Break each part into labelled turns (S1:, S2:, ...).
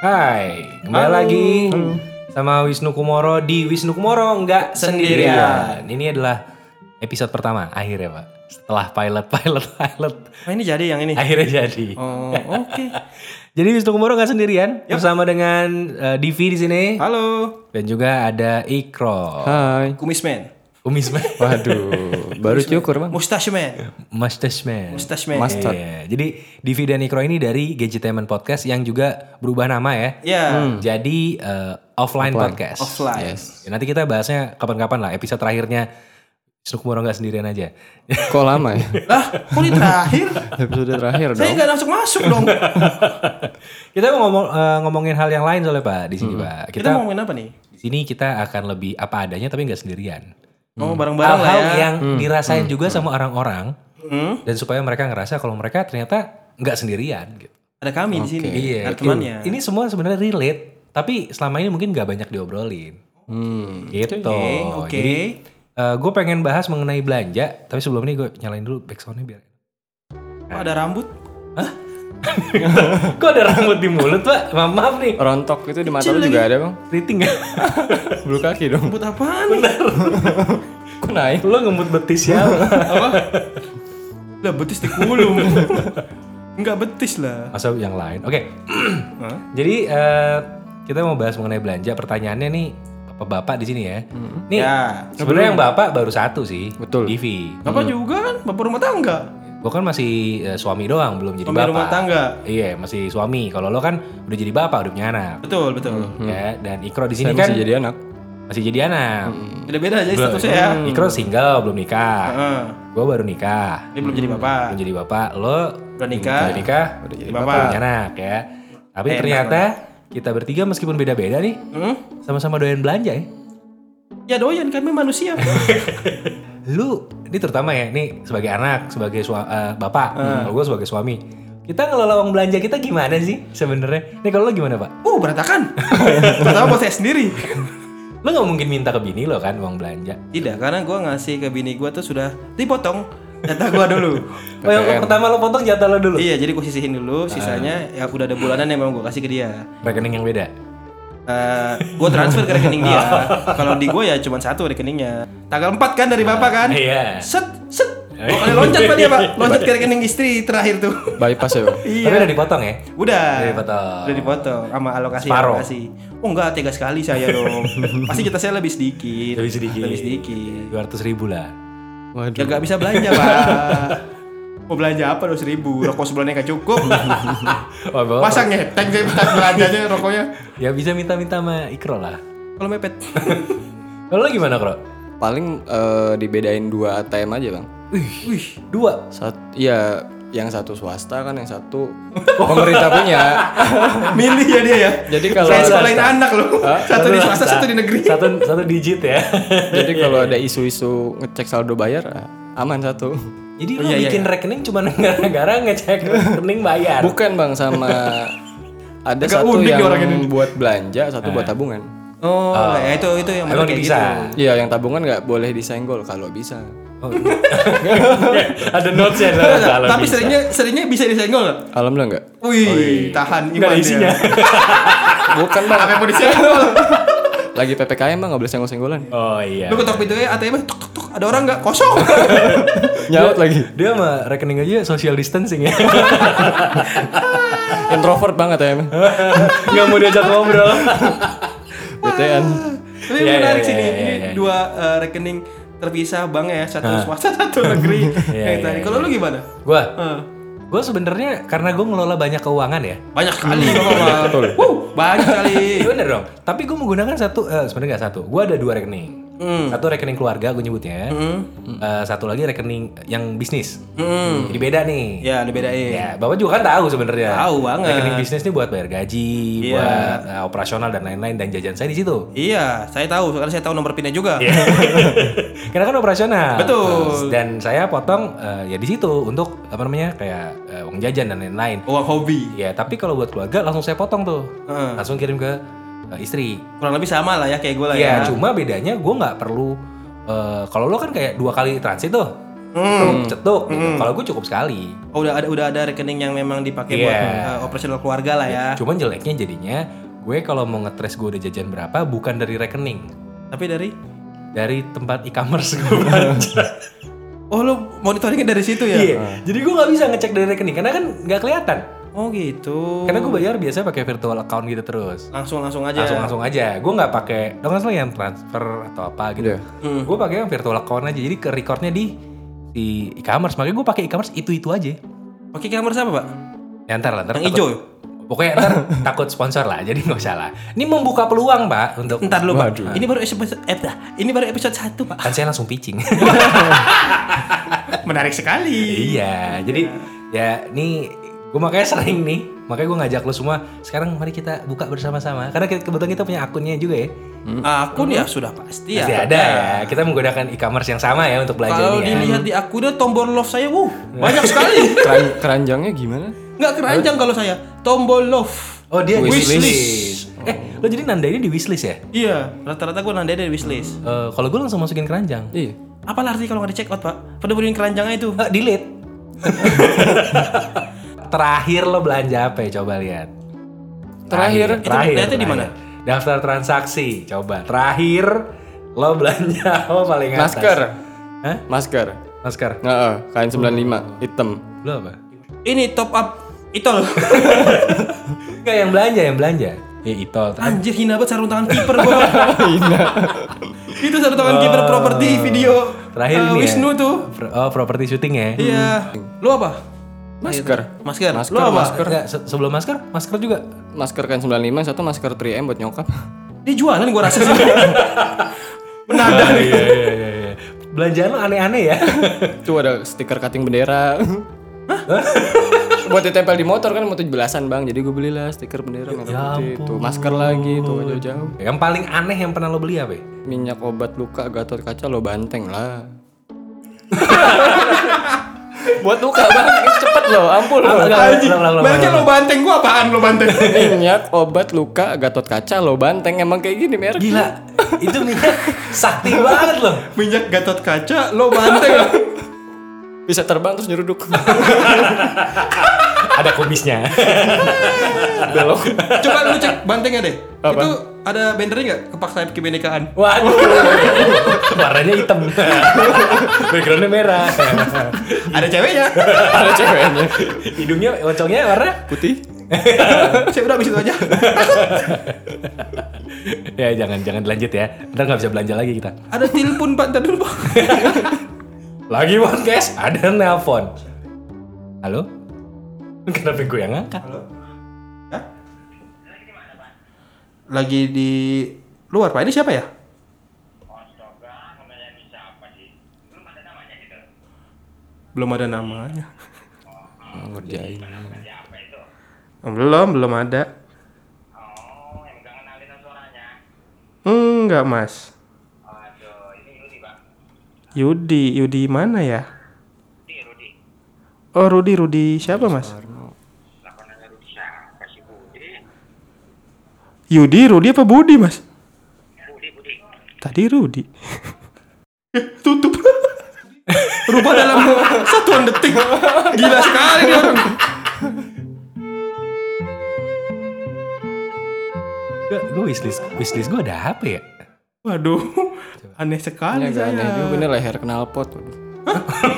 S1: Hai, kembali lagi sama Wisnu Kumoro di Wisnu Kumoro nggak sendirian. Ini adalah episode pertama akhirnya pak. Setelah pilot, pilot, pilot,
S2: Oh ini jadi yang ini.
S1: akhirnya jadi.
S2: Oh oke.
S1: Jadi Wisnu Kumoro nggak sendirian bersama dengan eh, Divi di sini
S2: Halo.
S1: dan juga ada Ikro,
S3: Hai.
S2: Kumisman.
S1: Umis Man,
S3: Waduh, baru cukur bang.
S2: Mustache man.
S1: Mustache Man.
S2: Mustache man.
S3: Mas- Mustard.
S1: Iya, Jadi Divi dan Ikro ini dari Gadgetainment Podcast yang juga berubah nama ya.
S2: Ya.
S1: Jadi eh, offline, podcast.
S2: Offline.
S1: Ya, nanti kita bahasnya kapan-kapan lah episode terakhirnya Sukumoro nggak sendirian aja.
S3: Kok lama ya?
S2: Lah, kok ini terakhir?
S3: Episode terakhir
S2: Saya
S3: dong.
S2: nggak langsung masuk dong.
S1: kita mau ngomong eh, ngomongin hal yang lain soalnya Pak di sini Pak. Kita, Hmm.
S2: Kita mau ngomongin apa nih?
S1: di sini kita akan lebih apa adanya tapi nggak sendirian.
S2: Oh bareng-bareng lah
S1: Hal-hal
S2: ya. Mm.
S1: yang dirasain juga sama orang-orang
S2: Hmm?
S1: dan supaya mereka ngerasa kalau mereka ternyata nggak sendirian gitu.
S2: Ada kami di sini.
S1: iya.
S2: Ada Iya, temannya.
S1: Ini semua sebenarnya relate tapi selama ini mungkin nggak banyak diobrolin.
S3: Hmm.
S1: Gitu.
S2: Oke. oke.
S1: Jadi gue pengen bahas mengenai belanja tapi sebelum ini gue nyalain dulu backsoundnya biar
S2: Oh, ada rambut.
S1: Kok ada rambut di mulut, Pak? Maaf, maaf nih.
S3: Rontok itu di mata lu juga ada bang.
S1: Riting ya?
S3: Bulu kaki dong.
S2: Rambut apaan nih?
S3: Kok naik?
S1: Lo ngemut betis ya?
S2: apa? Lah betis di kulum. Enggak betis lah.
S1: Masa yang lain. Oke.
S2: Hah?
S1: Jadi eh, kita mau bahas mengenai belanja. Pertanyaannya nih Bapak-bapak di sini ya. Nih,
S2: Ya.
S1: sebenarnya yang Bapak baru satu sih.
S3: Betul.
S1: Divi.
S2: Bapak juga kan bapak rumah tangga.
S1: Gue kan masih eh, suami doang, belum jadi
S2: Suami
S1: bapak.
S2: rumah tangga.
S1: Iya, masih suami. Kalau lo kan udah jadi bapak, udah punya anak.
S2: Betul, betul.
S1: Ya, dan Ikro di
S3: Saya
S1: sini
S3: masih
S1: kan
S3: jadi anak.
S1: masih jadi anak.
S2: Beda-beda aja statusnya Hmm. ya.
S1: Ikro single, belum nikah.
S2: Heeh.
S1: Gue baru nikah.
S2: Ini belum jadi bapak.
S1: Belum jadi bapak, lo
S2: Udah nikah.
S1: udah nikah,
S3: Udah jadi
S2: bapak.
S1: punya anak ya. Tapi
S2: Enak
S1: ternyata kita bertiga meskipun beda-beda nih,
S2: Hmm?
S1: sama-sama doyan belanja ya.
S2: Ya doyan kami manusia.
S1: Lu, ini terutama ya, ini sebagai anak, sebagai sua- eh, bapak, kalau gue sebagai suami, kita ngelola uang belanja kita gimana sih sebenarnya? Nih kalau lo gimana pak?
S2: uh berantakan. Pertama buat saya sendiri.
S1: Lo nggak mungkin minta ke bini lo kan uang belanja?
S2: Tidak, karena gua ngasih ke bini gua tuh sudah dipotong jatah gua dulu.
S1: Oh, yang pertama lo potong jatah lo dulu.
S2: iya, jadi gua sisihin dulu, sisanya ya udah ada bulanan yang memang gua kasih ke dia.
S1: Rekening yang beda.
S2: Eh, gua transfer ke rekening dia. Kalau di gua ya cuma satu rekeningnya. Tanggal 4 kan dari bapak kan?
S1: Iya.
S2: Set, set. Oh, ada loncat pak dia pak, loncat ke rekening istri terakhir tuh.
S3: Bypass ya bang.
S2: Iya.
S1: Tapi udah dipotong ya.
S2: Udah.
S1: Udah dipotong.
S2: Udah dipotong sama alokasi
S1: Separuh.
S2: alokasi. Oh enggak, tega sekali saya dong. Pasti kita saya lebih sedikit.
S1: Lebih sedikit.
S2: Lebih sedikit.
S1: Dua ratus ribu lah.
S3: Waduh.
S2: Ya nggak bisa belanja, Pak. Mau belanja apa dong seribu? Rokok sebulannya nggak cukup.
S1: Oh, bawa-
S2: Pasang ya, tank belanjanya rokoknya.
S1: Ya bisa minta-minta sama Ikro lah.
S2: Kalau mepet.
S1: Kalau lo gimana Kro?
S3: Paling eh, dibedain dua ATM aja bang.
S2: Wih,
S1: Dua.
S3: Sat, iya yang satu swasta kan yang satu pemerintah punya.
S2: milih ya dia ya.
S3: Jadi kalau
S2: Saya
S3: ada-
S2: sekolahin anak loh. Satu di swasta, satu di negeri.
S1: Satu satu digit ya.
S3: Jadi kalau ada isu-isu ngecek saldo bayar ah, aman satu.
S1: Jadi
S2: Oh,
S1: lo
S2: iya, iya.
S1: bikin rekening cuma gara-gara ngecek rekening bayar.
S3: Bukan bang sama ada
S2: Agak
S3: satu
S2: unik nih
S3: yang
S2: orang ini.
S3: buat belanja, satu buat tabungan.
S2: Oh, ya itu itu yang
S1: Emang gitu.
S2: bener kayak gitu.
S1: dipisah?
S3: Iya, yang tabungan nggak boleh disenggol kalau bisa.
S1: ada notes ya.
S2: gitu. Tapi seringnya seringnya bisa disenggol. nggak?
S3: Alhamdulillah nggak.
S2: Wih, tahan
S1: Nggak ada
S2: imannya.
S1: isinya.
S3: Bukan bang.
S2: Apa yang mau disenggol?
S3: Lagi ppkm bang nggak boleh senggol-senggolan.
S1: Oh iya.
S2: Lu ketok pintunya ATM tuk tuk tuk ada orang nggak kosong.
S3: Nyaut lagi.
S1: Dia sama rekening aja social distancing ya.
S3: Introvert banget ya emang.
S1: Nggak mau diajak ngobrol.
S3: BTN.
S2: Tapi
S1: Iya,
S2: menarik
S1: iya,
S2: sih ini,
S1: iya,
S2: ini
S1: iya, iya.
S2: dua eh, rekening terpisah bank ya, satu swasta, satu negeri.
S1: Iya,
S2: Kayak tadi.
S1: iya,
S2: Kalau lu gimana?
S1: Gua,
S2: Eh,
S1: gua sebenarnya karena gua ngelola banyak keuangan ya.
S2: banyak kali Bapak.
S3: Betul.
S2: Wuh, banyak kali.
S1: Iya bener dong. Tapi gue menggunakan satu, eh, sebenarnya nggak satu. Gue ada dua rekening.
S2: Hmm.
S1: Satu rekening keluarga gue nyebutnya. Eh, satu lagi rekening yang bisnis. Jadi beda nih.
S2: Hmm, Ya, ada bedain.
S1: Ya, bapak juga kan tahu sebenarnya.
S2: Tahu banget.
S1: Rekening bisnis nih buat bayar gaji,
S2: Iya.
S1: buat eh, operasional dan lain-lain dan jajan saya di situ.
S2: Iya, saya tahu karena saya tahu nomor pinnya juga.
S1: Iya. Karena kan operasional.
S2: Betul.
S1: Dan saya potong eh, ya di situ untuk apa namanya kayak eh, uang jajan dan lain-lain.
S2: Uang Oh, hobi.
S1: Ya, tapi kalau buat keluarga langsung saya potong tuh.
S2: Heeh.
S1: Langsung kirim ke eh, istri.
S2: Kurang lebih sama lah ya kayak gue lah
S1: Iya,
S2: ya.
S1: cuma bedanya gue nggak perlu eh, kalau lo kan kayak dua kali transit tuh. cetuk,
S2: Hmm.
S1: cetuk. gitu. Kalau gue cukup sekali.
S2: Oh, udah ada udah ada rekening yang memang dipakai buat
S1: Iya.
S2: eh, operasional keluarga lah ya.
S1: Cuman jeleknya jadinya gue kalau mau ngetres gue udah jajan berapa bukan dari rekening.
S2: Tapi dari
S1: Dari tempat e-commerce gue belanja.
S2: Oh, lu monitoringnya dari situ ya?
S1: Iya. Jadi gue nggak bisa ngecek dari rekening karena kan nggak kelihatan.
S2: Oh, gitu.
S1: Karena gue bayar biasanya pakai virtual account gitu terus.
S2: Iya. Langsung-langsung aja.
S1: langsung langsung aja gue nggak pakai dong langsung yang transfer atau apa gitu
S3: Iya.
S1: gue pakai yang virtual account aja jadi ke recordnya di di e-commerce makanya gue pakai e-commerce itu itu aja
S2: Oke, kamar siapa, Pak?
S1: ya ntar lah ntar
S2: Yang
S1: takut-
S2: hijau.
S1: pokoknya ntar takut sponsor lah jadi nggak usah lah ini membuka peluang pak untuk
S2: Ntar lu, Pak. Ini baru episode eh, dah. ini baru episode 1, Pak.
S1: kan saya langsung pitching
S2: Menarik sekali.
S1: iya jadi ya ini gue makanya sering nih makanya gue ngajak lo semua sekarang mari kita buka bersama-sama karena kita- kebetulan kita punya akunnya juga ya
S2: Akun ya sudah
S1: Hmm.
S2: pasti ya.
S1: Pasti ada ya kita menggunakan e-commerce yang sama ya untuk belanja
S2: Kalau
S1: ini ya.
S2: dilihat di akunnya tombol love saya, wuh, banyak sekali.
S3: Keran- keranjangnya gimana?
S2: Nggak keranjang kalau saya. Tombol love.
S1: Oh dia di
S2: Wishlist.
S1: Eh lo jadi nandainnya di wishlist ya?
S2: Iya, rata-rata gue nandain dari wishlist.
S1: Eh kalau gue langsung masukin keranjang.
S3: Iya.
S2: Apalah artinya kalau nggak di check out, Pak? Pada bunyiin keranjangnya itu.
S1: Eh delete. Terakhir lo belanja apa ya? Coba lihat.
S3: Terakhir?
S2: Itu lihatnya di mana?
S1: Daftar transaksi. Coba. Terakhir lo belanja apa paling atas?
S3: Masker.
S1: Hah?
S3: Masker.
S1: Masker.
S3: Heeh, kain 95 hitam.
S1: Lo apa?
S2: Ini top up Itol.
S1: Enggak yang belanja, yang belanja. Ya itol.
S2: Anjir hina banget sarung tangan kiper gua. Itu sarung tangan kiper properti video.
S1: Terakhir
S2: eh,
S1: ini ya.
S2: Wisnu tuh.
S1: Pro- Oh, properti syuting ya?
S2: Iya. Lu apa?
S3: Hmm. Masker.
S2: Masker.
S3: Masker,
S2: Lu apa?
S3: masker.
S1: Enggak, se- sebelum masker, masker juga.
S3: Masker kain 95 satu masker 3M buat nyokap.
S2: Dia jualan gua rasa sih. Menada nih.
S1: Iya, iya, iya, iya. Belanjaan lo aneh-aneh ya.
S3: Itu ada stiker kating bendera. buat ditempel di motor kan motor 17-an bang jadi gue belilah stiker bendera merah putih tuh masker lagi tuh jauh-jauh
S1: Yang paling aneh yang pernah lo beli apa ya?
S3: minyak obat luka gatot kaca lo banteng lah buat luka bang Eh, cepet lo ampun lo
S1: Ulang, ulang, ulang,
S2: Mereka
S1: ulang,
S2: lo banteng gua apaan lo banteng?
S3: minyak obat luka gatot kaca lo banteng emang kayak gini merek
S1: Gila, itu minyak sakti banget loh.
S2: Minyak gatot kaca lo banteng.
S3: bisa terbang terus nyeruduk
S1: Ada kumisnya.
S3: belok
S2: Coba lu cek bantengnya deh.
S3: Apa? Oh,
S2: Itu ada bendernya nggak kepaksa kebinekaan?
S1: Waduh. Warnanya hitam. Backgroundnya merah.
S3: iya.
S2: Ada ceweknya.
S3: ada ceweknya
S1: Hidungnya, oncongnya warna.
S3: putih
S2: Saya udah habis itu aja.
S1: Ya jangan, jangan lanjut ya. Ntar nggak bisa belanja lagi kita.
S2: Ada telepon pak, ntar dulu pak.
S1: Lagi podcast, ada nelpon. Halo? Kenapa gue yang ngangkat?
S2: Lagi di luar pak. Ini siapa ya? Belum ada namanya.
S3: ngerjain
S2: Belum, belum ada. Enggak mas. Yudi, Yudi mana ya? Oh Rudi, Rudi siapa mas? Yudi, Rudi apa Budi mas? Tadi Rudi. Eh, Tutup. Rubah dalam satuan detik. Gila sekali nih orang.
S1: Gue, gue wishlist, wishlist gue ada apa ya?
S2: Waduh, aneh sekali
S3: agak
S2: saya.
S3: aneh juga bener leher knalpot waduh.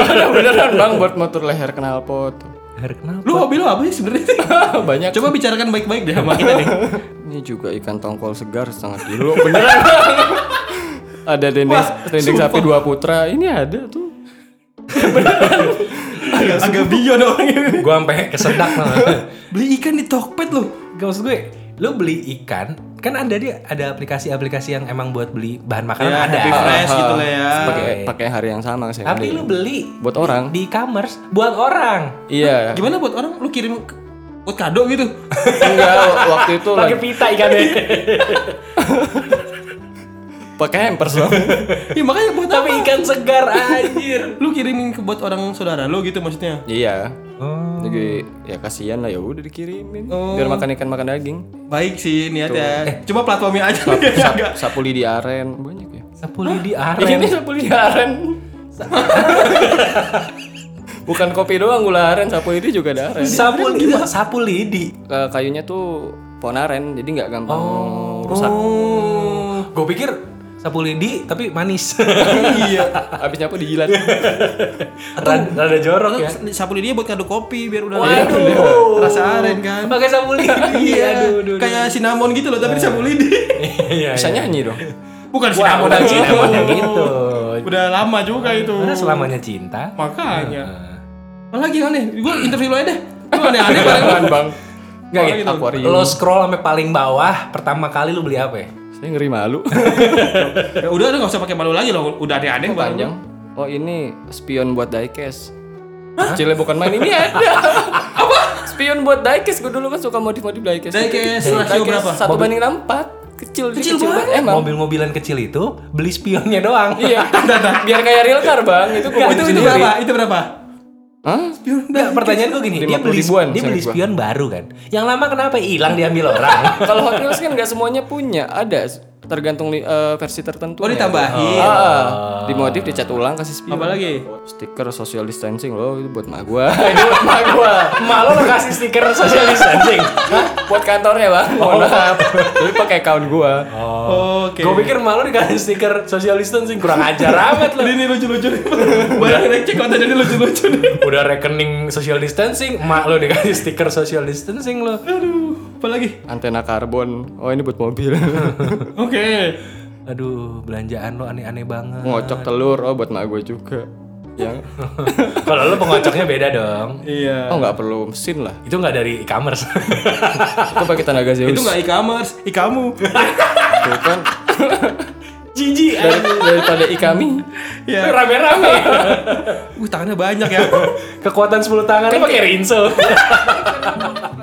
S3: ada beneran bang buat motor leher knalpot
S1: Leher kenapa?
S2: Lu hobi lu apa sih sebenarnya?
S3: Oh,
S1: Ya,
S3: banyak
S2: Coba bicarakan baik-baik deh sama kita nih.
S3: ini juga ikan tongkol segar setengah kilo beneran Bang. ada dendeng dendeng sapi dua putra ini ada tuh
S2: Agak, agak bion orang ini.
S1: Gue sampai kesedak malah.
S2: Beli ikan di Tokped lu.
S1: Gak maksud gue, lo beli ikan, kan ada dia ada aplikasi-aplikasi yang emang buat beli bahan makanan
S2: Ya,
S1: ada.
S2: Happy Fresh gitu lah ya.
S3: pakai pakai hari yang sama saya
S1: Tapi
S3: beli.
S1: lo beli
S3: buat orang
S1: di e-commerce buat orang.
S3: iya
S1: Ya.
S2: Gimana buat orang lu kirim ke- buat kado gitu?
S3: enggak waktu itu
S1: Pakai
S3: lagi
S1: pita ikannya.
S3: pakai hampers bang
S2: ya makanya buat
S1: Tapi
S2: apa?
S1: ikan segar anjir.
S2: Lu kirimin ke buat orang saudara lu gitu maksudnya.
S3: iya
S1: Oh.
S3: jadi ya kasihan lah ya udah dikirimin biar makan ikan makan daging
S2: Baik
S1: Eh.
S2: sih niatnya. Cuma platformnya aja.
S3: Sap-
S2: agak-
S3: sapu lidi aren banyak ya
S1: Sapu lidi
S3: ini
S1: aren.
S3: sapu lidi aren Bukan kopi doang gula aren, sapu lidi juga ada aren.
S1: Sapu lidi, sapu lidi.
S3: Eh, kayunya tuh ponaren, jadi nggak gampang rusak.
S1: Oh. Gue pikir sapu lidi tapi manis.
S3: iya. Habis nyapu dijilat.
S1: Iya. Rada, rada jorok ya.
S2: Sapu lidi buat ngaduk kopi biar udah
S1: Waduh.
S2: rasa aren kan. Iya,
S1: Pakai sapu lidi. Iya, Aduh, aduh.
S2: Kayak cinnamon gitu loh tapi di sapu lidi.
S1: Iya.
S3: Bisa nyanyi dong.
S2: Bukan
S1: Wah,
S2: cinnamon Oh.
S1: udah
S2: lagi.
S1: Cina gitu.
S2: Udah lama juga itu.
S1: Karena selamanya cinta.
S2: Makanya. Apalagi aneh, gue interview lo aja deh. Lu aneh-aneh bareng lu.
S3: Apaan bang?
S1: Nggak
S3: Orang
S1: gitu.
S3: akuarium.
S1: Lo scroll sampai paling bawah, pertama kali lo beli apa ya?
S3: Saya ngeri malu.
S2: Ya udah udah gak usah pakai malu lagi loh, udah aneh-aneh bareng
S3: Panjang. Oh ini spion buat diecast. Kecilnya bukan main ini ada. Apa? Spion buat diecast. Gue dulu kan suka modif-modif diecast.
S2: Diecast,
S3: Itu
S2: rasio berapa?
S3: Satu banding enam empat. Kecil, dia
S2: Kecil banget.
S3: Emang.
S1: Mobil-mobilan kecil itu beli spionnya doang.
S3: Iya. Biar kayak real car bang. Itu gue
S2: Itu
S3: buat
S2: itu,
S3: sendiri.
S2: berapa? Itu berapa?
S3: Hah?
S1: Nggak, pertanyaan gue gini, dia
S3: 50
S1: beli
S3: ribuan,
S1: dia beli
S3: misalnya gua.
S1: spion baru kan. Yang lama kenapa hilang diambil orang?
S3: Kalau Hot Wheels kan nggak semuanya punya. Ada tergantung li- eh, versi
S2: Oh
S3: tertentu.
S2: ditambahin.
S3: Ah, ah. dimodif dicat ulang kasih spion.
S2: Apa lagi?
S3: Stiker social distancing loh itu buat mak gua. itu buat mak gua.
S1: Emak lo udah kasih stiker social distancing.
S3: buat kantornya bang. Mohon maaf. Oh, Tapi pakai account gua.
S2: Oh, Oke.
S1: Gue pikir emak lo dikasih stiker social distancing kurang ajar amat lo.
S2: Ini nih lucu-lucu nih. Banyak yang cek konten ini lucu-lucu nih.
S1: Udah rekening social distancing, emak lo dikasih stiker social distancing lo.
S2: Aduh, apa lagi?
S3: Antena karbon. Oh ini buat mobil.
S2: Oke.
S1: Aduh, belanjaan lo aneh-aneh banget.
S3: Ngocok telur. Oh buat mak gua juga. Yang
S1: Kalau lo pengocoknya beda dong.
S2: Iya.
S3: oh nggak perlu mesin lah.
S1: Itu nggak dari e-commerce.
S3: Itu pakai tenaga Zeus.
S2: Itu nggak e-commerce, e-kamu.
S3: Tuh kan.
S1: Jiji,
S3: Dari, daripada ikami.
S2: Iya.
S1: rame-rame.
S2: Uh, tangannya banyak ya.
S1: Kekuatan 10 tangan lo pakai rinso.